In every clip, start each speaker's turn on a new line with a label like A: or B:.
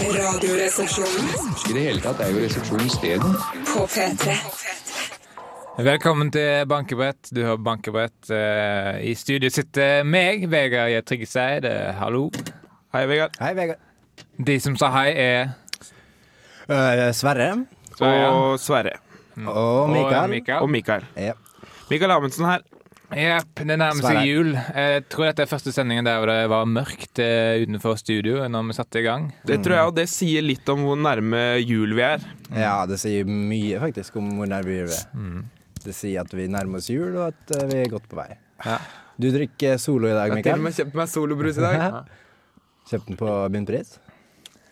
A: Radioresepsjonen
B: I det hele tatt er jo resepsjonen stedet.
A: på P3.
C: Velkommen til Bankebrett. Du hører Bankebrett. Eh, I studio sitter meg, Vegard J. Tryggeseid. Eh, Hallo. Hei, Vegard.
D: Hei, Vegard.
C: De som sa hei, er
D: Eh, Sverre.
C: Ørjan
E: Og Sverre.
D: Og Mikael.
C: og Mikael.
E: Og Mikael.
D: Ja.
E: Mikael Amundsen her.
C: Jepp, det nærmer seg
D: Sverre.
C: jul. Jeg tror dette er første sendingen der hvor det var mørkt eh, utenfor studio når vi satte i gang.
E: Det tror jeg, og det sier litt om hvor nærme jul vi er.
D: ja, det sier mye faktisk om hvor nær vi er. Det sier at vi nærmer oss jul, og at eh, vi er godt på vei.
C: Ja.
D: Du drikker Solo i
E: Jeg
D: dag,
E: har til og
D: Mikael.
E: med kjøpt meg solobrus i dag.
D: Kjøpte den på bunnpris.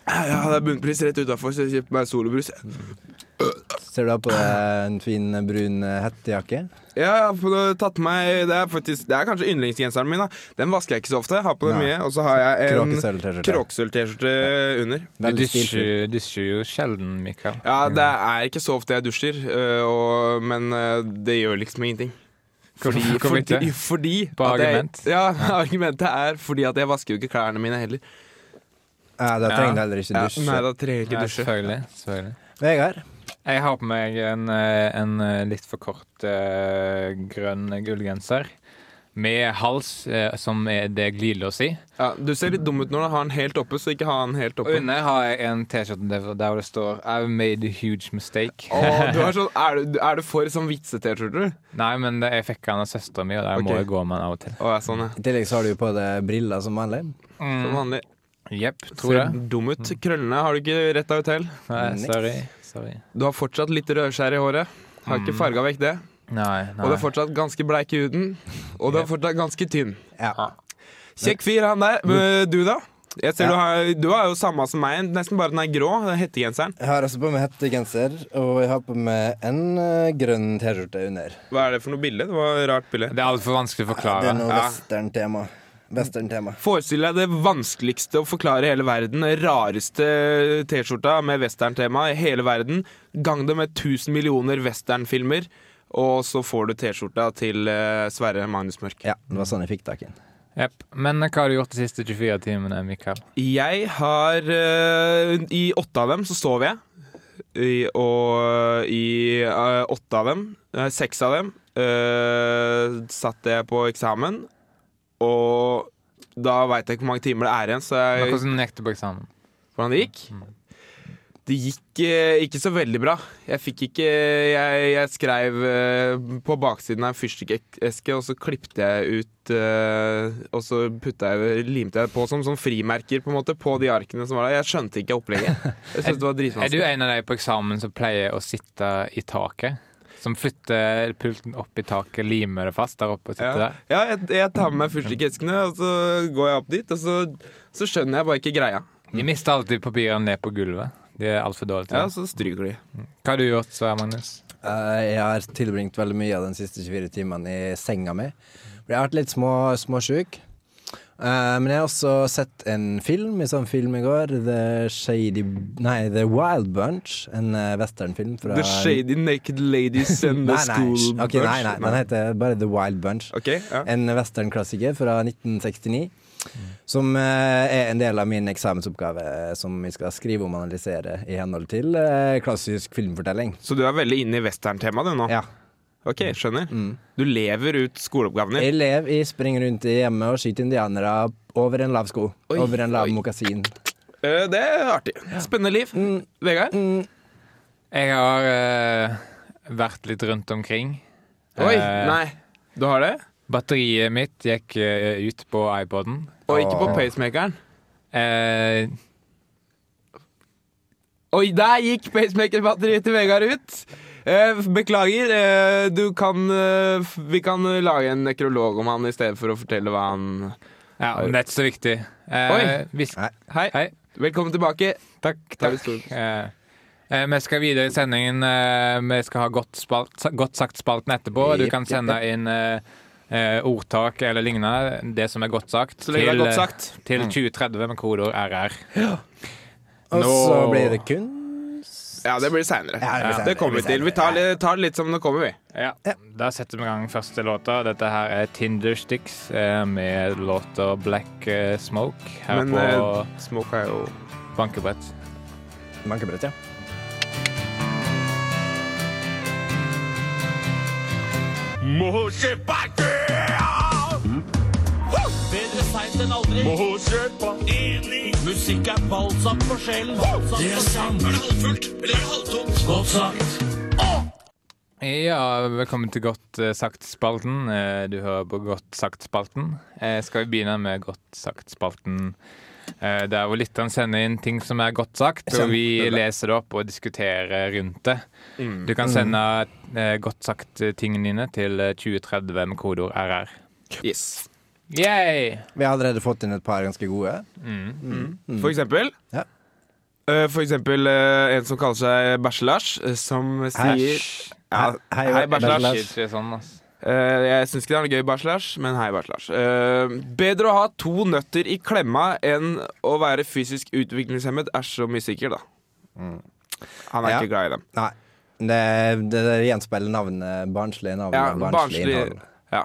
E: Ja, det er bunnpris rett utafor, så jeg kjøpte meg solobrus.
D: Ser du har på deg en fin brun eh, hettejakke?
E: Ja, jeg har på- tatt meg Det er faktisk Det er kanskje yndlingsgenseren min. da Den vasker jeg ikke så ofte. Jeg har på den
D: Nei.
E: mye. Og så har jeg en
D: Kråkesølv-T-skjorte.
E: kråkesølv-T-skjorte under.
C: Du
D: Veldig stilfull.
C: dusjer, dusjer jo sjelden, Mikael.
E: Ja, det er ikke så ofte jeg dusjer, øh, og, men øh, det gjør liksom ingenting. Fordi,
C: hvorfor ikke?
E: fordi, fordi
C: På
E: at jeg-
C: argument?
E: Ja, argumentet er fordi at jeg vasker jo ikke klærne mine heller.
D: Ja, da trenger du heller ikke
E: Ja,
D: dusje.
E: nei, da trenger jeg ikke
C: Nei,
E: dusje.
C: selvfølgelig. selvfølgelig.
D: Vegard,
C: Jeg har på meg en, eh, en eh, litt for kort eh, grønn gullgenser med hals, eh, som er det glidelås i.
E: Ja, du ser litt dum ut når du har den helt oppe, så ikke ha den helt
C: Og
E: oppe.
C: under har jeg en T-skjorte der der det står I've made a huge mistake.
E: Å, du er, sånn, er, du, er du for sånn vitsete-T-skjorter?
C: Nei, men det- jeg fikk den av søstera mi, og der må
E: Ok.
C: jeg gå med den av og til.
E: Å, ja, sånn, ja.
D: i tillegg så har du jo på deg briller som vanlig.
E: Som vanlig.
C: Jepp, Mm. tror
E: Ser
C: jeg. Mm.
E: dum ut. Krøllene har du ikke retta ut til.
C: Nei,
D: Niks.
C: sorry. sorry.
E: Du har fortsatt litt rødskjær i håret. Har ikke farga vekk det.
C: Nei, Mm. nei.
E: Og du er fortsatt ganske bleik i huden. Og du er fortsatt ganske tynn.
D: Ja.
E: Kjekk fyr, han der. Men Du, da? Jeg ser
D: Mm. Ja.
E: du, har, du har jo samme som meg, nesten bare den er grå, den hettegenseren.
D: Jeg har også på meg hettegenser, og jeg har på meg en eh, grønn T-skjorte under.
E: Hva er det for noe bilde? Det var et rart bilde.
C: Det er altfor vanskelig å
D: Det er
C: forklare.
D: noe
E: Ja.
D: western-tema. Western-tema.
E: Forestill deg det vanskeligste å forklare i hele verden. Den rareste T-skjorta med westerntema i hele verden. Gang det med 1000 millioner westernfilmer, og så får du T-skjorta til eh, Sverre Magnus Mørk.
D: Ja, det var sånn jeg fikk tak i den.
C: Jepp. Men eh, hva har du gjort de siste 24 timene, Mikael?
E: Jeg har eh, I åtte av dem så sov jeg. I, og i eh, åtte av dem, eh, seks av dem, eh, satt jeg på eksamen. Og da veit jeg ikke hvor mange timer det er igjen, så
C: Men
E: jeg,
C: Hvordan gikk det på eksamen?
E: hvordan det gikk.
C: Mm.
E: Det gikk eh, ikke så veldig bra. Jeg fikk ikke Jeg, jeg skrev eh, på baksiden av en fyrstikkeske, og så klippte jeg ut eh, Og så putta jeg, limte jeg på som, som frimerker på en måte på de arkene som var der. Jeg skjønte ikke opplegget. Jeg syntes det var
C: Er du
E: dritvanskelig.
C: en av de på eksamen som pleier å sitte i taket? Som flytter pulten opp i taket, limer det fast der oppe og sitter
E: Ja,
C: der?
E: ja jeg, jeg tar med meg fyrstikkeskene, og så går jeg opp dit, og så, så skjønner jeg bare ikke greia.
C: De mister alltid papirene ned på gulvet. De er altfor dårlige
E: Ja,
C: til det.
E: Så stryker de.
C: Hva har du gjort, Sverre Magnus?
D: Eh, Jeg har tilbringt veldig mye av den siste 24 timene i senga mi. For jeg har vært litt små, småsjuk. Eh, men jeg har også sett en film i sånn film i går. The Shady Nei, The Wild Bunch. En eh, westernfilm fra
E: The Shady Naked Ladies and
D: nei,
E: the
D: nei,
E: School
D: ok, nei, nei, den heter bare The Wild Bunch.
E: Ok, ja.
D: En westernklassiker fra 1969. Som eh, er en del av min eksamensoppgave, eh, som vi skal skrive om og analysere i henhold til eh, klassisk filmfortelling.
E: Så du er veldig inne i westerntemaet, du nå?
D: Ja.
E: Ok, skjønner. Du lever ut skoleoppgaven din.
D: Jeg lever i springer rundt i hjemmet og skyter indianere over en lav sko.
E: Oi,
D: over en lav
E: oi.
D: mokasin.
E: Eh, Det er artig. Spennende liv.
D: Mm.
E: Vegard?
C: Jeg har eh, vært litt rundt omkring.
E: Oi,
C: Eh,
E: nei. Du har det?
C: Batteriet mitt gikk eh, ut på iPoden.
E: Og ikke på
D: Åh.
E: pacemakeren.
C: Eh,
E: Oi, der gikk pacemaker-batteriet til Vegard ut! Eh, Beklager. eh, Du kan eh, f- Vi kan eh, lage en nekrolog om han i stedet for å fortelle hva han
C: ja, men det er ikke så viktig. Eh,
E: Oi.
C: hvis-
D: Nei.
E: Hei.
C: Hei.
E: Velkommen tilbake.
C: Takk.
E: Tar du
C: takk.
E: stor-
C: Eh, eh, vi skal videre i sendingen. Eh, vi skal ha Godt, spalt, godt sagt-spalten etterpå. Du
D: Jepp,
C: kan
D: jepp,
C: sende inn eh, eh, ordtak eller lignende, det som er godt sagt,
E: Så lenge det er godt
C: eh,
E: sagt. Mm.
C: til 2030 med kodeord RR.
D: Og
C: Nå-
D: så blir det kunst.
E: Ja, det blir seinere.
D: Ja, det blir senere,
E: det kommer vi
D: det blir
E: til. Vi tar, det- tar det litt som det kommer, vi.
C: Ja, Da setter vi i gang første låta. Dette her er Tindersticks eh, med låta Black eh, Smoke her
E: Men
C: på
E: eh, Smoke er jo
C: Bankebrett.
D: Bankebrett, ja.
A: Bedre seint enn aldri. Enig. Musikk er balsam for sjelen. Det er sant. Er det halvfullt eller halvtomt? Godt sagt.
C: Ja, velkommen til Godt eh, sagt-spalten. Eh, Du hører på Godt sagt-spalten. Eh, Skal vi begynne med Godt sagt-spalten, eh, der hvor lytteren sender inn ting som er godt sagt, og vi leser det Mm. opp og diskuterer rundt det. Du kan sende eh, godt sagt-tingene dine til eh, 2030 med kodeord RR.
E: Yes.
C: Yay!
D: Vi har allerede fått inn et par ganske gode.
E: For eksempel.
D: Mm. Ja.
E: Eh, For eksempel eh, en som kaller seg Bæsje-Lars, eh, som sier Ja,
D: Hei,
E: hei,
D: hei,
E: Bæsje-Lars.
D: Bæsje-Lars.
C: Shit, det er sånn, ass.
E: Eh, jeg syns ikke det er noe gøy, Bæsje-Lars, men hei, Bæsje-Lars. Eh, bedre å ha to nøtter i klemma enn å være fysisk utviklingshemmet er så mye sikkert, da. Han er
D: Mm. Ja.
E: ikke glad i dem.
D: Nei. Det, det, det gjenspeiler navnet. Barnslige navn.
E: Ja,
D: barnslig
E: barnslig.
D: innhold.
E: Ja.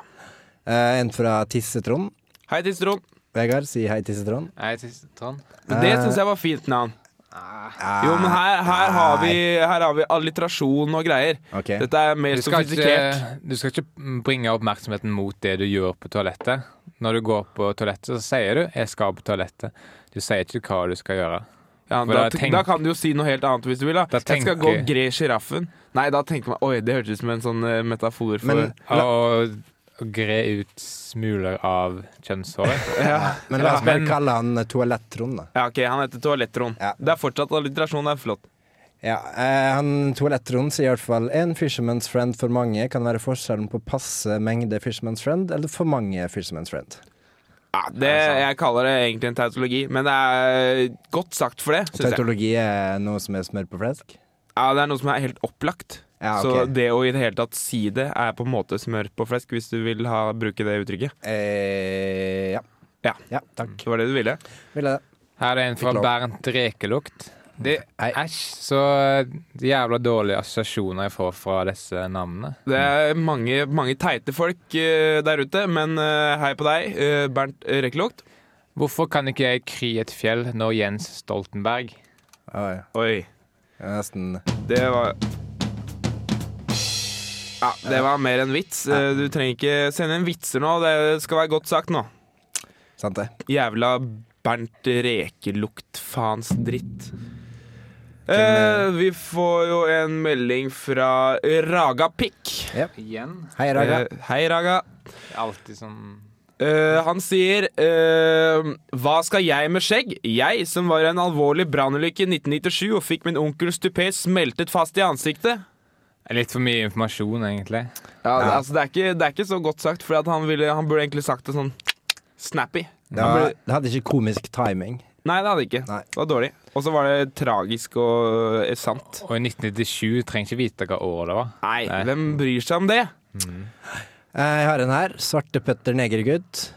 D: Eh, en fra Tissetrond.
E: Hei, Tidsron.
D: Vegard, si hei, Tissetrond.
C: Nei, jeg synes- sånn.
E: Men det
D: Eh,
E: syns jeg var fint navn. Jo, men her, her, har vi, her har vi alliterasjon og greier.
D: Ok.
E: Dette er mer
C: Du skal,
E: sofistikert.
C: ikke, du skal ikke bringe oppmerksomheten mot det du gjør på toalettet. Når du går på toalettet, så sier du 'jeg skal på toalettet'. Du sier ikke hva du skal gjøre.
E: Ja,
C: For
E: da,
C: da tenk-
E: da kan du jo si noe helt annet hvis du vil. da
C: Da
E: Jeg skal gå og
C: tenker-
E: gre sjiraffen. Nei, da tenker man Oi, det hørtes ut som en sånn eh, metafor for
D: Men, la,
C: Og og gre ut smuler av kjønnshåret.
E: ja.
D: men la oss bare
C: men-
D: kalle han Toalett-Trond, da.
E: ja, OK, han heter Toalettron.
D: Ja.
E: Det er fortsatt alliterasjon, det er flott.
D: Ja, eh, han Toalett-Trond sier i hvert fall En fisherman's friend for mange kan være forskjellen på passe mengde fisherman's friend eller for mange fisherman's friend.
E: Ja, det, jeg kaller det egentlig en tautologi, men det er godt sagt for det, syns jeg.
D: Tautologi er noe som er smør på flesk.
E: Ja, det er noe som er helt opplagt.
D: Ja, ok.
E: Så det å i det hele tatt si det, er på en måte smør på flesk, hvis du vil ha, bruke det uttrykket.
D: Eh, ja.
E: Ja.
D: ja. Takk.
E: Det var det du ville?
D: Ville det.
C: Her er en fra
D: Fikk lov.
C: Bernt Rekelukt. Det Æsj, så eh, jævla dårlige assosiasjoner jeg får fra disse navnene.
E: Det er mange, mange teite folk eh, der ute, men eh, hei på deg, eh, Bernt Rekkelukt.
C: Hvorfor kan ikke jeg kry et fjell når Jens Stoltenberg
D: Oi,
E: Oi,
D: jeg er nesten
E: det var Ja, det var mer enn vits. Eh, Du trenger ikke sende inn vitser nå, det skal være godt sagt nå.
D: Sant, det.
E: Jævla Bernt Rekelukt-faens dritt. Eh,
D: Hvem,
E: vi får jo en melding fra Raga Pikk.
C: igjen?
D: Hei, Raga.
E: Eh, hei, Raga.
C: Alltid sånn
E: Eh, han sier eh, Hva skal jeg med skjegg? Jeg som var i en alvorlig brannulykke i 1997 og fikk min onkels tupé smeltet fast i ansiktet.
C: Litt for mye informasjon, egentlig.
E: Ja, det- Altså, det, er ikke, det er ikke så godt sagt, for at han, ville, han burde egentlig sagt det sånn snappy.
D: Det, var, det hadde ikke komisk timing.
E: Nei, det hadde ikke.
D: Nei.
E: Det var dårlig. Og så var det tragisk og eh, sant.
C: Og i 1997 trenger ikke vite hva år det var.
E: Nei,
C: Nei.
E: hvem bryr seg om det?
D: Eh, Jeg har en her. Svarte Petter Negergutt.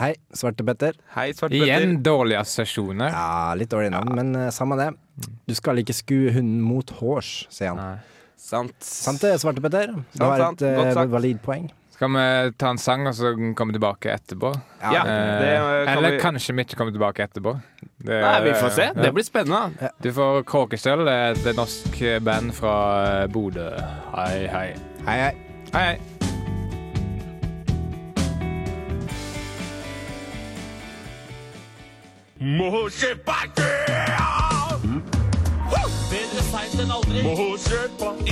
D: Hei, Svarte Petter.
E: Hei, Svart
C: Igjen
E: Petter.
C: dårlige assosiasjoner.
D: Ja, litt dårlig navn, men eh, samme det. Du skal ikke skue hunden mot hårs, sier han.
C: Nei.
E: Sant.
D: Sant det, Svarte Petter? Du
E: Sant,
D: har
E: sant.
D: et eh,
E: Godt sagt.
D: valid poeng.
C: Skal vi ta en sang og så komme tilbake etterpå?
E: Ja, det
C: Eh,
E: kan
C: Eller
E: vi
C: kanskje vi ikke kommer tilbake etterpå. Det-
E: Nei, vi får se.
C: Ja.
E: Det blir spennende.
C: Du får Kråkestøl, det er et norsk band fra eh, Bodø. Hei, hei.
D: Hei, hei.
E: Hei, hei.
A: Bedre seint enn aldri.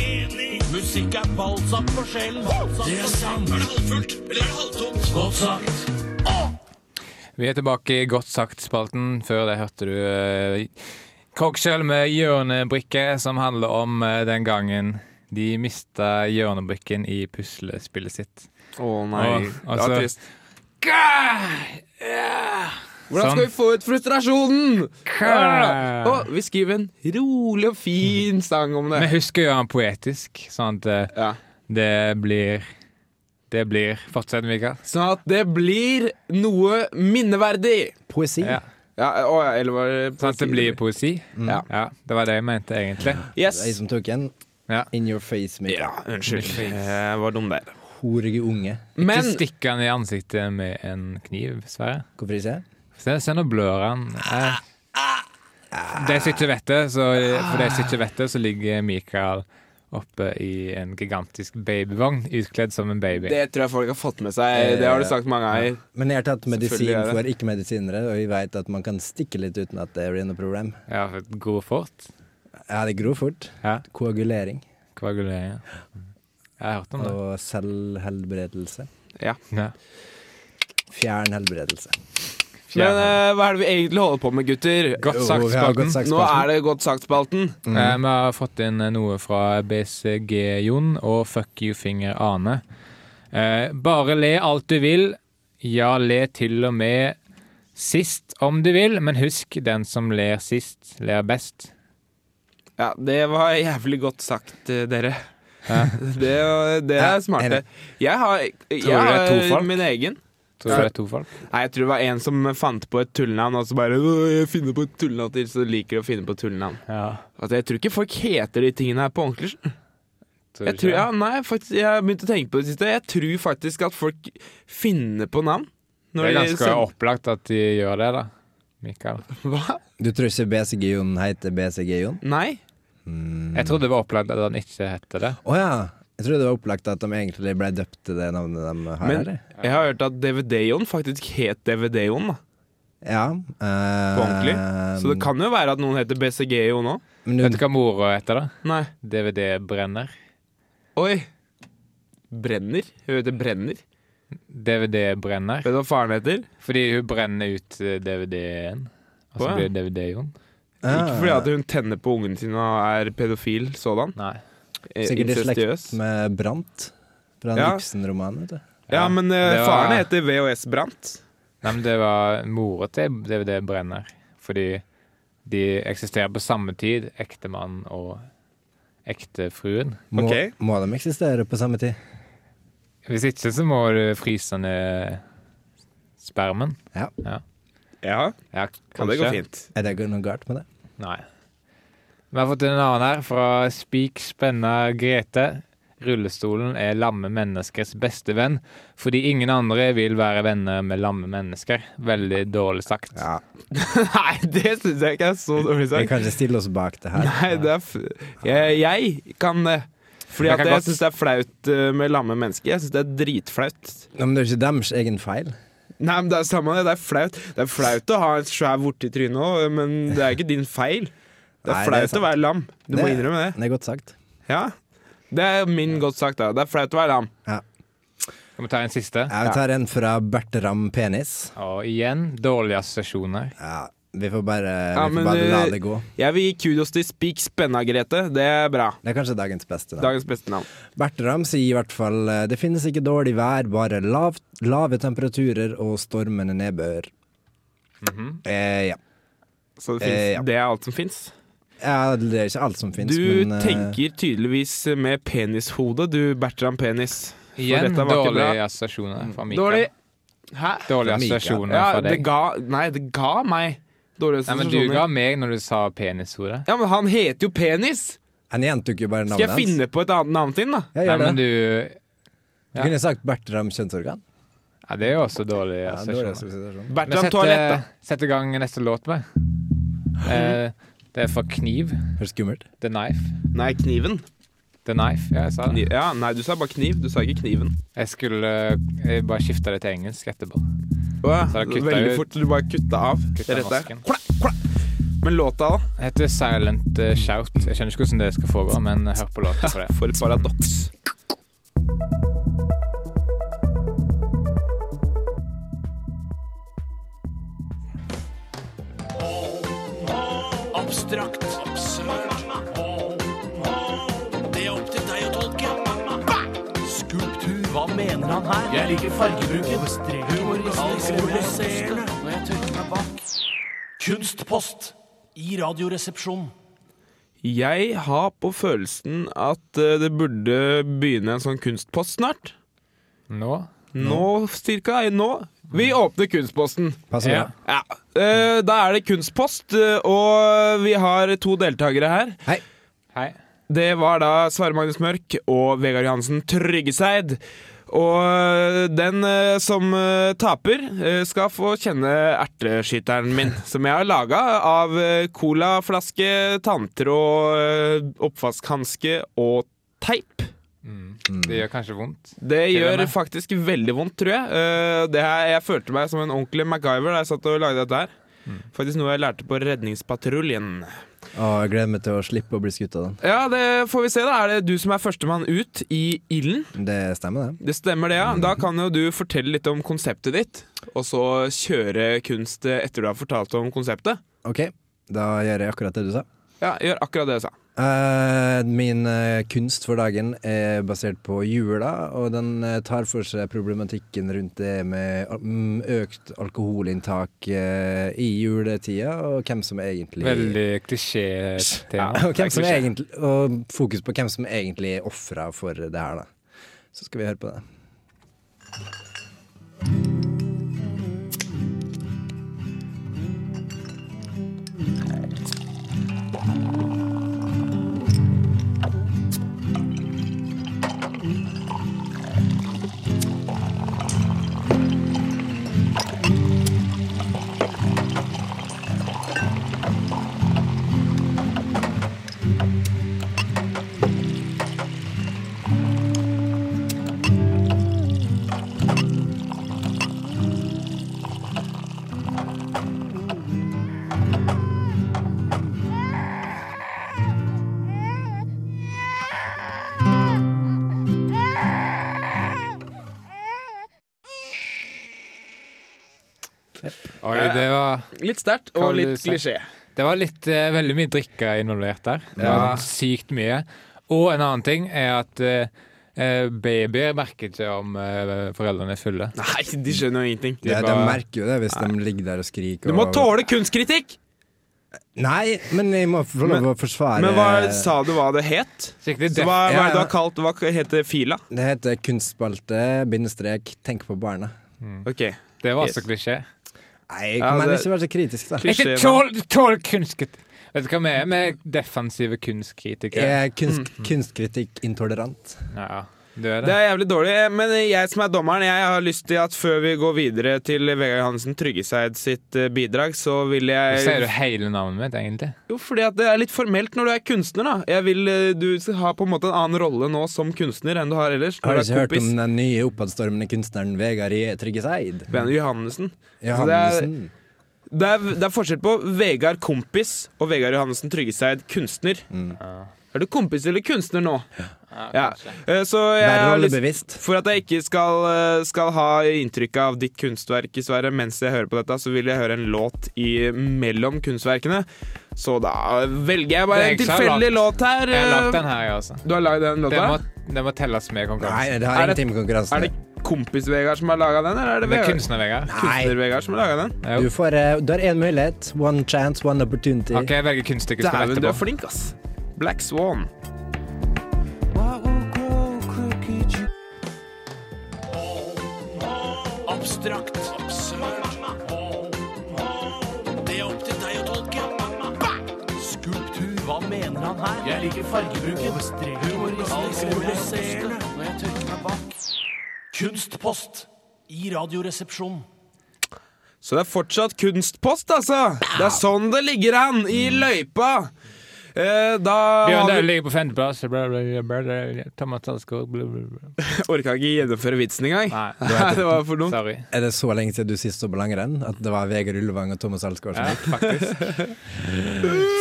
A: Enig. Musikk er balsam for sjelen. Det er sant. Er det halvfullt eller halvtomt? Godt sagt.
C: Vi er tilbake i Godt sagt-spalten. Før det hørte du eh, Kråkeskjell med hjørnebrikke, som handler om eh, den gangen de mista hjørnebrikken i puslespillet sitt.
E: Å nei,
C: Å,
E: det
C: altså-
E: var trist. Hvordan skal
C: Sånn.
E: vi få ut frustrasjonen?
C: Gah!
E: Å, vi skriver en rolig og fin sang om
C: Vi
E: det.
C: husker å gjøre den poetisk, sånn at eh,
E: Ja.
C: det blir Det blir Fortsett, Mikael.
E: Sånn at det blir noe minneverdig.
D: Poesi.
C: Ja.
E: Ja, å, ja, eller var det Mm.
C: Sånn at det blir poesi.
E: Ja.
C: Ja, det var det jeg mente, egentlig.
E: Yes.
D: Det er jeg som tok en.
C: Ja.
D: In your face, Mikael.
E: Ja, unnskyld. Jeg var dum der.
D: Horige unge.
E: Men
C: Ikke stikk han i ansiktet med en kniv, dessverre.
D: Hvorfor ikke?
C: Se, se nå blør han. Eh, de som ikke vet det, så, for de som ikke vet det, så ligger Mikael oppe i en gigantisk babyvogn, utkledd som en baby.
E: Det tror jeg folk har fått med seg. Det har du sagt mange ganger.
D: Men jeg har tatt medisin
E: Selvfølgelig er det.
D: for ikke-medisinere, og vi veit at man kan stikke litt uten at det blir noe problem.
C: Ja, for det går fort.
D: Ja, det gror fort.
C: Ja.
D: Koagulering
C: Koagulering. Jeg har hørt om det.
D: og selvhelbredelse.
E: Ja.
C: Ja.
D: Fjern helbredelse.
E: Men eh, hva er det vi egentlig holder på med, gutter?
C: Godt
D: Jo,
C: sagt,
D: vi har
C: Spalten.
D: godt sagt
E: Nå er det Godt sagt-spalten.
C: Eh, vi har fått inn eh, noe fra BCG Jon og Fuck You Finger Ane. Eh, bare le alt du vil. Ja, le til og med sist om du vil, men husk, den som ler sist, ler best.
E: Ja, det var jævlig godt sagt, eh, dere. Det, det
D: Ja,
E: er smarte.
D: enig.
E: Jeg har,
C: det
E: jeg
C: er to
E: har
C: folk?
E: min egen.
C: Tror du det er to folk?
E: Nei, jeg tror det var en som fant på et tullenavn, og så bare «Åh, jeg finner på et tullenavn til, så liker de å finne på tullenavn.
C: Ja.
E: Altså, jeg tror ikke folk heter de tingene her på ordentlig.
C: Tror du
E: Jeg
C: ikke
E: tror,
C: det?
E: ja, nei, faktisk, jeg har begynt å tenke på det siste. Jeg tror faktisk at folk finner på navn.
C: Det er
E: de-
C: ganske
E: som-
C: opplagt at de gjør det, da. Mikael.
E: Hva?
D: Du tror ikke BCG-Jon heter BCG-Jon?
E: Nei.
C: Mm. Jeg trodde det var opplagt at han ikke hette det.
D: Å ja. Jeg trodde det var opplagt at de egentlig ble døpt til det navnet de har.
E: Men
D: eller?
E: jeg har hørt at DVD-on faktisk het DVD-on, da.
D: Ja. eh,
E: På ordentlig. Så
D: Ehm.
E: det kan jo være at noen heter BCG-on òg.
D: men
C: Vet du
D: du,
C: hva mora heter, da?
E: Nei.
C: DVD-brenner.
E: Oi. Brenner? Hun heter Brenner.
C: DVD-brenner.
E: Vet du hva faren heter?
C: Fordi hun brenner ut eh, DVD-en, og
E: Å,
C: så
E: ja.
C: blir det DVD-Jon.
D: Ah.
E: Ikke fordi at hun tenner på ungen sin og er pedofil sådan.
C: Nei.
E: Eh,
D: Sikkert i slekt
E: Incestiøs.
D: med Brant fra en
E: Ja.
D: Ibsen-roman. vet du.
E: Ja, men eh,
C: Det var-
E: faren heter VHS Brant.
C: Nei, men det var mora til DVD Brenner. Fordi de eksisterer på samme tid, ektemann og ektefruen.
D: Må,
E: Ok.
D: må de eksistere på samme tid?
C: Hvis ikke så må du fryse ned spermen.
D: Ja.
E: Ja,
C: Ja,
E: kan
C: kanskje.
E: det gå fint.
D: Er det noe galt med det?
C: Nei. Vi har fått en annen her, fra Spik Spenna Grete. Rullestolen er lamme menneskers beste venn, fordi ingen andre vil være venner med lamme mennesker. Veldig dårlig sagt.
D: Ja.
E: Nei, det syns jeg ikke er så dårlig
D: Vi
E: sagt.
D: kan ikke stille oss bak det her.
E: Nei, det er f jeg, jeg kan det. Fordi
C: Jeg
E: at
C: kan
E: jeg
C: godt-
E: syns det er flaut eh, med lamme mennesker. Jeg syns det er dritflaut.
D: Nei, Men det er jo ikke deres egen feil.
E: Nei, men Det er samme det, det er flaut Det er flaut å ha en svær vorte i trynet òg, men det er ikke din feil. Det er
D: Nei, det er
E: flaut
D: sant.
E: å være lam. Du må
D: Det-
E: innrømme det.
D: Det er godt sagt.
E: Ja. Det er min godt sagt, da. Det er flaut å være lam.
C: Skal vi ta en siste?
D: Jeg tar en fra Bertram Penis.
C: Og igjen dårlige assosiasjoner.
D: Ja, vi får bare,
E: Ja,
D: vi
E: men
D: får bare la
E: du-
D: det gå.
E: Jeg vil gi kudos til Spik Spenna, Grete. Det er bra.
D: Det er kanskje dagens beste. Da.
E: Dagens beste navn.
D: Bertram sier i hvert fall eh, det finnes ikke dårlig vær, bare lav, lave temperaturer og stormende nedbør. eh, ja.
E: Så det,
D: Eh,
E: finnes,
D: ja.
E: det er alt som fins.
D: ja. Det er ikke alt som finnes,
E: Du
D: men eh,
E: tenker tydeligvis med penishode, du Bertram Penis.
C: Igjen
E: dette var ikke
C: dårlige
E: bra. Mm.
C: assosiasjoner fra Mikael.
E: Dårlig Hæ?
C: Dårlige
D: Fra Mikael.
C: assosiasjoner
E: Ja,
C: fra
E: det
C: deg.
E: ga Nei, det ga meg dårlige
C: Nei, men Du
E: assosiasjoner.
C: ga meg når du sa penishode.
E: Ja, men han heter jo Penis!
D: Han gjentok jo bare
E: Skal
D: navnet
E: jeg finne på et annet navn til den, da?
D: Ja,
C: Nei,
D: gjør
C: men
D: det.
C: du
D: Du kunne sagt Bertram kjønnsorgan.
C: Ja, det er jo også dårlige
D: Ja, dårlig
C: assosiasjoner.
D: assosiasjon.
C: Vi
E: Bertram Toalett, da.
C: setter, setter i gang neste låt med. Eh, det er fra Kniv.
D: Høres skummelt.
C: The Knife.
E: Nei, Kniven.
C: The Knife, ja, jeg sa
E: Kni
C: det.
E: ja, nei, du sa bare Kniv. Du sa ikke Kniven.
C: Jeg skulle jeg bare skifta det til engelsk etterpå.
E: Åh,
C: Så da kutta
E: veldig
C: jeg ut.
E: fort. Du bare kutta av.
C: Kutta
E: rett der.
C: masken.
E: Kla, kla. Men låta, da?
C: Det heter Silent eh, Shout. Jeg skjønner ikke hvordan det skal foregå, men eh, hør på låta for det.
E: For et paradoks.
A: Abstrakt. Absurd. Det er opp til deg å tolke. Skulptur. Hva mener han her? Jeg liker fargebruken. Humoristiske. Når jeg tørker meg bak. Kunstpost i Radioresepsjonen.
E: Jeg har på følelsen at eh, det burde begynne en sånn kunstpost snart.
C: Nå?
E: Nå, cirka. Nå. Vi åpner kunstposten.
D: Passer
C: Ja.
D: bra.
E: Ja. eh, da er det kunstpost, eh, og vi har to deltakere her.
D: Hei.
C: Hei.
E: Det var da Sverre Magnus Mørk og Vegard Johansen Tryggeseid. Og den eh, som eh, taper, eh, skal få kjenne erteskyteren min, som jeg har laga av eh, colaflaske, tanntråd, eh, oppvaskhanske og teip.
C: Det gjør kanskje vondt.
E: Det
C: Til og
E: gjør
C: med.
E: faktisk veldig vondt, tror jeg. Eh, Det her, jeg følte meg som en ordentlig MacGyver da jeg satt og lagde dette her. Faktisk noe jeg lærte på Redningspatruljen.
D: Og jeg gleder meg til å slippe å bli skutt av den.
E: Ja, det får vi se, da. Er det du som er førstemann ut i ilden?
D: Det stemmer, det.
E: Det stemmer det, ja. Da kan jo du fortelle litt om konseptet ditt, og så kjøre kunst etter du har fortalt om konseptet.
D: OK, da gjør jeg akkurat det du sa.
E: Ja, gjør akkurat det jeg sa.
D: Eh, min eh, kunst for dagen er basert på jula, og den eh, tar for seg problematikken rundt det med al- mm, økt alkoholinntak eh, i juletida, og hvem som egentlig
C: Veldig klisjé-tema.
D: og, hvem som egentlig, og fokus på hvem som egentlig er ofra for det her, da. Så skal vi høre på det.
C: Oi, det var,
E: Litt sterkt
C: Hva
E: og
C: vil du
E: litt
C: si?
E: klisjé.
C: det var litt, eh, veldig mye drikke involvert der. Det var Sykt mye. Og en annen ting er at eh, eh, babyer merker ikke om eh, foreldrene er fulle.
E: Nei, de skjønner jo ingenting.
D: De,
C: er
D: de
C: bare-
D: merker jo det hvis de ligger der og skriker.
E: Du må
D: og-
E: tåle kunstkritikk!
D: Nei, men jeg må få lov å forsvare
E: Men hva sa du hva det het?
C: Skikkelig
E: Så hva, hva
D: Ja,
E: er det du
D: ja.
E: har kalt Hva heter fila?
D: Det heter kunstspalte, bindestrek, tenk på barna.
E: Ok.
C: def- Det var
E: Yes.
C: så klisjé.
D: Nei,
E: Ja,
D: kan man
E: det-
D: ikke være så kritisk, da?
E: Klisjé,
C: Ikke
E: da.
C: tål, tål kunstkritikk! Vet du hva vi er? Vi er defensive kunstkritikere.
D: Er kunst,
E: Mm,
D: kunstkritikk intolerant?
C: Ja, ja. du er
E: Det
C: det.
E: er jævlig dårlig, men jeg som er dommeren, jeg har lyst til at før vi går videre til Vegard Hansen Tryggeseid sitt eh, bidrag, så vil
C: Nå
E: jeg
C: sier du hele navnet mitt, egentlig.
E: Jo, fordi at det er litt formelt når du er kunstner, da. Jeg vil, eh, du har på en måte en annen rolle nå som kunstner enn du har ellers. Når
D: Har du
E: du
D: ikke
E: er
D: hørt om
E: kompis.
D: den nye oppadstormende kunstneren Vegard i Tryggeseid?
E: Ben Johannessen. Så det er-
D: Johannessen.
E: Det er, det er forskjell på Vegard kompis og Vegard Johannessen Tryggeseid kunstner.
D: Mm.
E: Er du kompis eller kunstner nå? Ja. Eh, Så jeg
D: Vær
E: har lyst
D: rollebevisst.
E: for at jeg ikke skal, eh, skal ha inntrykk av ditt kunstverk, Sverre, mens jeg hører på dette, så vil jeg høre en låt i mellom kunstverkene. Så da velger jeg bare en
C: Det er ikke så jeg har
E: tilfeldig låt her.
C: Jeg har lagt
E: eh.
C: den her, jeg også.
E: Du har lagd den låta?
C: Det må, det må telles med i konkurransen.
D: Nei, det
E: Er
D: har
E: det-
D: ingenting med
E: Er
D: konkurransen
E: det kompis-Vegard som har laga den, eller er det,
C: Det er
E: Vegard-
C: kunstner, Vegard.
E: kunstner-Vegard som har laga den?
C: Jo.
D: Du, får, eh, du har én mulighet. One chance, one opportunity.
C: OK, jeg velger kunststykket vi skal
E: Dæven, du
C: rette
E: er
C: på.
E: flink, ass. Black Swan.
A: Abstrakt. Absurd. Det er opp til deg å tolke. Skulptur, hva mener han her? Jeg liker fargebruken. Humoristisk. Polariserende. Når jeg tørker meg bak. Kunstpost i Radioresepsjonen.
E: Så det er fortsatt kunstpost, altså. Det er sånn det ligger an i løypa. Eh, da
C: Bjørn
E: har
C: Dæhlie
E: vi-
C: ligger på femteplass. bla, bla, bla, bla, bla, Thomas Alsgaard bla, bla, bla.
E: Orka ikke gjennomføre vitsen engang.
C: Nei,
E: Nei, det var for dumt.
C: sorry.
D: Er det så lenge siden du sist så på langrenn at det var Vegard Ullevang og Thomas Alsgaard som
C: Ja,
D: gikk?
C: faktisk.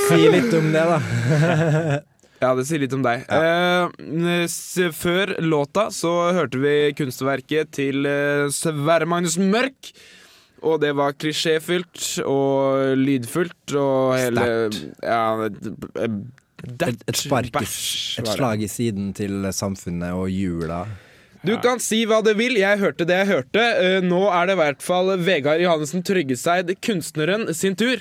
D: Si litt om det, da.
E: Ja, det sier litt om deg. Eh, s- før låta så hørte vi kunstverket til eh, Sverre Magnus Mørk. Og det var klisjéfylt og lydfullt og hele Ja,
D: Et, et spark i Et slag i siden til samfunnet og jula.
E: Du kan si hva du vil, jeg hørte det jeg hørte. Eh, Nå er det i hvert fall Vegard Johannessen Tryggeseid, kunstneren, sin tur.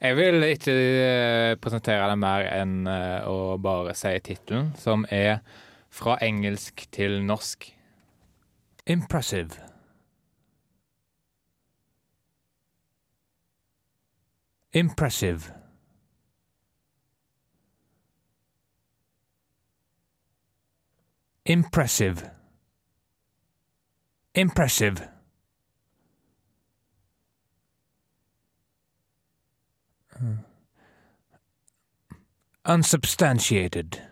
C: Jeg vil ikke eh, presentere det mer enn eh, å bare si tittelen, som er fra engelsk til norsk. Impressive. Impressive. Impressive. Impressive. Unsubstantiated.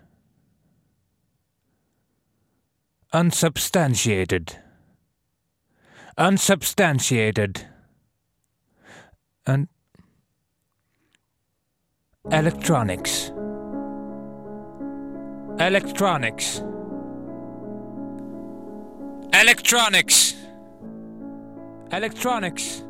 C: Unsubstantiated. Unsubstantiated. Un- electronics. Electronics. Electronics. Electronics.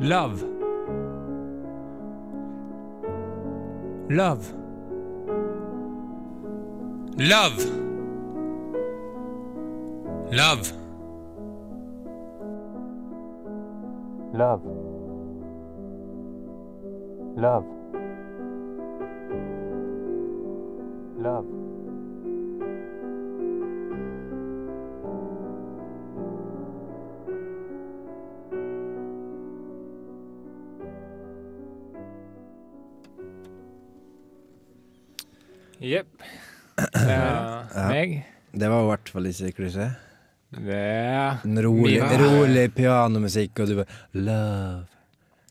C: Love. Love. Love. Love. Love. Love. Love. Jepp. Det er meg.
D: Det var i hvert fall ikke klisjé.
C: Det er
D: En rolig,
C: Mye.
D: rolig pianomusikk, og du bare Love.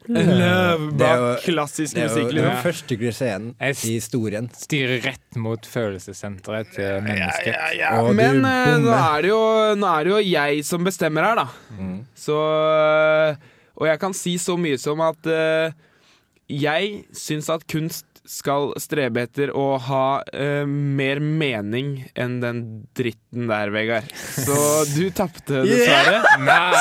E: Love
D: Det er jo-
E: bak klassisk
D: Det er jo
E: musikk.
D: den
E: liksom.
C: Ja.
D: første klisjeen
C: Jeg s-
D: i historien.
C: styrer rett mot følelsessenteret til mennesket.
D: Og du
E: Men eh, nå,
D: bommer.
E: er det jo, nå er det jo jeg som bestemmer her, da. Så eh, Og jeg kan si så mye som at eh, jeg syns at kunst skal strebe etter å ha eh, mer mening enn den dritten der, Vegard. Så du tapte, dessverre.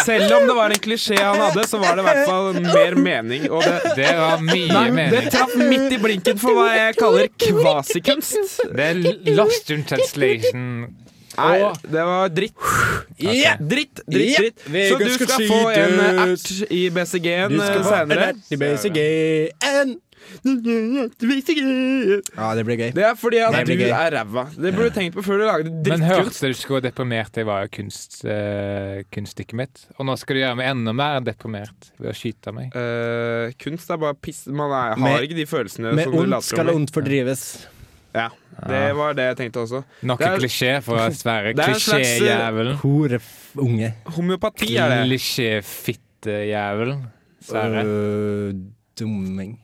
E: Selv om det var en klisjé han hadde, så var det i hvert fall mer mening. Og det,
C: Det var mye
E: nei, det
C: mening.
E: traff midt i blinken for hva jeg kaller kvasikunst.
C: Det er lost in translation.
E: Nei,
C: Og
E: det var dritt.
D: Ja.
E: Dritt, dritt,
D: Ja.
E: dritt. Så
D: Vegard
E: du
D: skal
E: skal få
D: skyte
E: en eh,
D: ut.
E: ert i BCG-en
D: Du skal få en
E: eh, senere.
D: ert i BCG-en. Ja, det blir gøy.
E: Det er fordi at
D: Det
E: du
D: blir gøy.
E: er ræva. Det burde du tenkt på før du lagde
C: men
E: drittkunst.
C: hørte du ikke hvor deprimert jeg var av kunst, eh, kunststykket mitt? Og nå skal du gjøre meg enda mer deprimert ved å skyte meg.
E: Eh, kunst er bare piss. Man er, har
D: Med-
E: ikke de følelsene
D: Med
E: som du
D: ondt
E: later
D: skal
E: som.
D: ondt fordrives.
E: Ja, det var det jeg tenkte også.
C: Nok
E: Det
C: en
E: er-
C: klisjé fra Sverre.
E: Det er en slags, eh,
C: Klisjéjævelen.
D: Horeunge.
E: Homeopati er det.
C: Klisjéfittejævelen. Sverre.
D: Øh, dumming.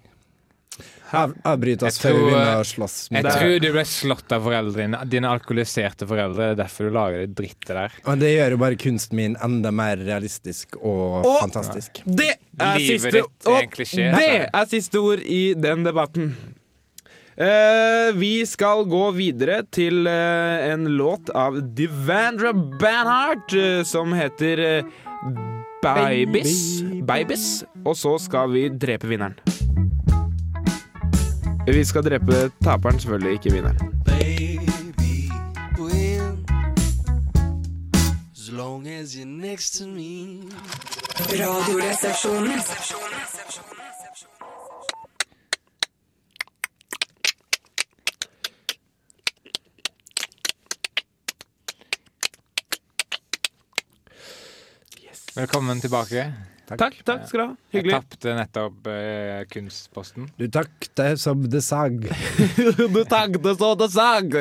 D: Av- Avbryt oss
C: Jeg
D: før vi
C: tror-
D: begynner å slåss. mot
C: Jeg
E: det er-
D: deg.
C: tror du ble slått av foreldrene dine. Dine alkoholiserte foreldre. Det er derfor du lager det drittet der.
D: Og det gjør jo bare kunsten min enda mer realistisk og
E: Å!
D: fantastisk.
E: Det er
C: Livet
E: siste
C: ditt er en
E: og
C: klisjé,
E: Det
C: altså.
E: er siste ord i den debatten. Eh, vi skal gå videre til eh, en låt av Devandra Banhart eh, som heter eh, Babies. Babies. Og så skal vi drepe vinneren. Vi skal drepe taperen, selvfølgelig ikke vinneren.
A: baby win as long as you're next to me.
F: Radioresepsjonen.
C: Velkommen tilbake.
E: Takk, takk skal du ha.
C: Jeg
E: Hyggelig.
C: tapte nettopp eh, kunstposten.
D: Du takte som det sag.
E: Du tagde så det sag!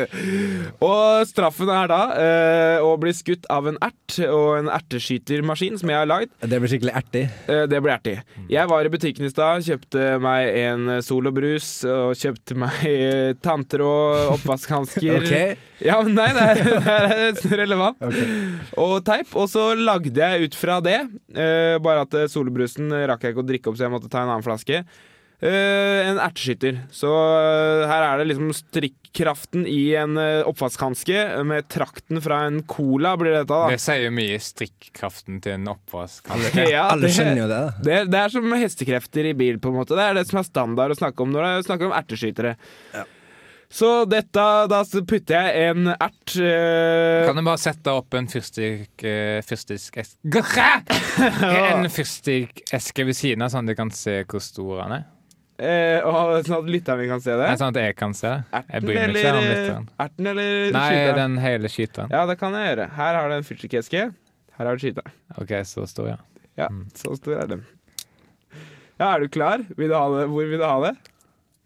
E: Og straffen er da eh, å bli skutt av en ert og en erteskytermaskin som jeg har lagd.
D: Det blir skikkelig ertig.
E: Eh, det blir ertig. Jeg var i butikken i stad, kjøpte meg en Solo Brus og kjøpte meg eh, tanntråd, oppvaskhansker
D: Ok.
E: Ja, men nei, det er, det er relevant. Og teip. Og så lagde jeg ut fra det, eh, bare at eh, solbrusen rakk jeg ikke å drikke opp, så jeg måtte ta en annen flaske. Eh, en erteskytter. Så eh, her er det liksom strikkraften i en uh, oppvaskhanske med trakten fra en cola, blir dette da.
C: Det sier jo mye strikkraften til en oppvask.
E: Ja,
D: Alle
E: det-
D: skjønner jo det. da.
E: det, det er som hestekrefter i bil, på en måte. Det er det som er standard å snakke om når det er snakk om erteskytere. Så dette, da så putter jeg en ert eh,
C: Kan du bare sette opp en fyrstikk eh, fyrstikk es- Grrra! En fyrstikkeske ved siden av, sånn at du kan se hvor stor den er?
E: eh, og Sånn at lytteren min kan se det.
C: Nei, sånn at jeg kan se det? Jeg
E: Erten
C: bryr meg ikke om lytteren.
E: eller, erten eller
C: Nei,
E: skyteren?
C: den hele skyteren.
E: Ja, det kan jeg gjøre. Her har du en fyrstikkeske. Her er det skyteren.
C: OK, så stor, ja.
E: Ja, så stor er den. Ja, er du klar? Vil du ha det? Hvor vil du ha det?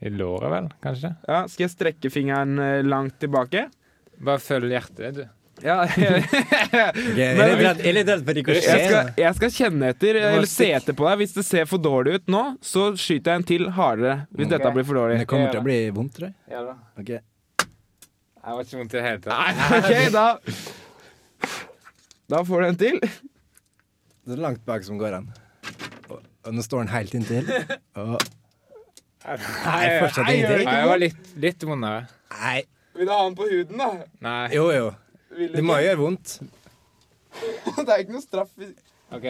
C: I låret, vel? Kanskje?
E: Ja, skal jeg strekke fingeren eh, langt tilbake?
C: Bare følg hjertet, du.
E: Ja, jeg,
D: Jeg
E: Men
D: er litt
E: vi-
D: redd- jeg er litt redd for
E: jeg,
D: rikosjett.
E: skal, jeg skal kjenne etter, eh,
D: må
E: eller se
D: stikk.
E: etter på deg. Hvis det ser for dårlig ut nå, så skyter jeg en til hardere. Hvis dette blir for
D: Det
E: dårlig.
D: kommer til å bli vondt, tror jeg.
C: Ja da.
D: Ok.
C: Jeg var ikke vondt i det hele tatt.
E: Nei, ok, da Da får du en til.
D: Det er langt bak som går an. Og, og nå står den helt inntil. Og, nei, fortsatt
C: Nei,
D: ingenting.
C: jeg var litt, litt vondere.
D: Nei,
E: Vil du ha den på huden, da?
C: Nei.
D: jo jo. Det må jo gjøre vondt.
E: Det er ikke noe straff. Det
C: OK.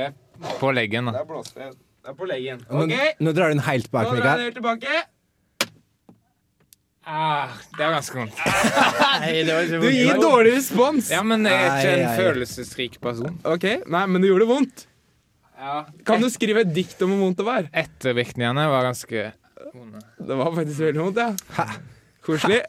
C: På leggen, da.
E: er blåstein. Det er på leggen.
D: Nå, nå drar du den helt bak, Mikael.
E: tilbake.
C: Ah, det var ganske vondt.
E: Du gir dårlig respons.
C: Ja, men jeg er ikke
D: Nei,
C: en
D: nei.
C: følelsesrik person.
E: Ok, Nei, men det gjorde vondt.
C: Ja.
E: Kan du skrive et dikt om hvor vondt det var?
C: Ettervirkningene var ganske vonde.
E: Det var faktisk veldig vondt, ja. Koselig.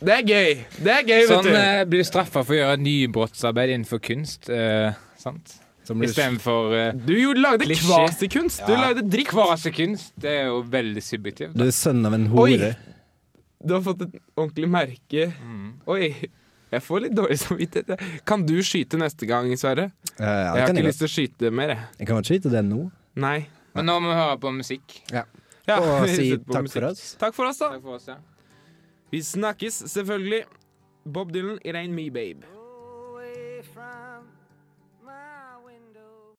E: Det er gøy. Det er gøy,
C: Sånn
E: vet
C: eh, blir du straffa for å gjøre nybrottsarbeid innenfor kunst. Eh, sant?
D: Som blir-
C: Istedenfor eh,
E: du. Du jo lagde
C: Klisjé.
E: kvasikunst. Du
C: Ja.
E: lagde drikk.
C: Kvasekunst, det er jo veldig subjektivt.
D: Du er sønn av en hore. Eh,
E: Oi. Du har fått et ordentlig merke.
C: Mm.
E: Oi. Jeg får litt dårlig samvittighet. jeg. Kan du skyte neste gang, Sverre?
D: Eh,
E: jeg
D: ja, det
E: har
D: kan
E: ikke
D: jeg,
E: lyst til å skyte mer, jeg.
D: godt. jeg kan vel skyte den nå.
E: Nei.
C: Men nå må vi høre på musikk.
E: Ja,
D: Og
E: vi
D: si
E: setter på
D: takk
E: musikk.
D: for oss.
E: Takk for oss, da.
C: Takk for oss, ja.
E: Vi snakkes, selvfølgelig. Bob Dylan, It Ain't Me Babe.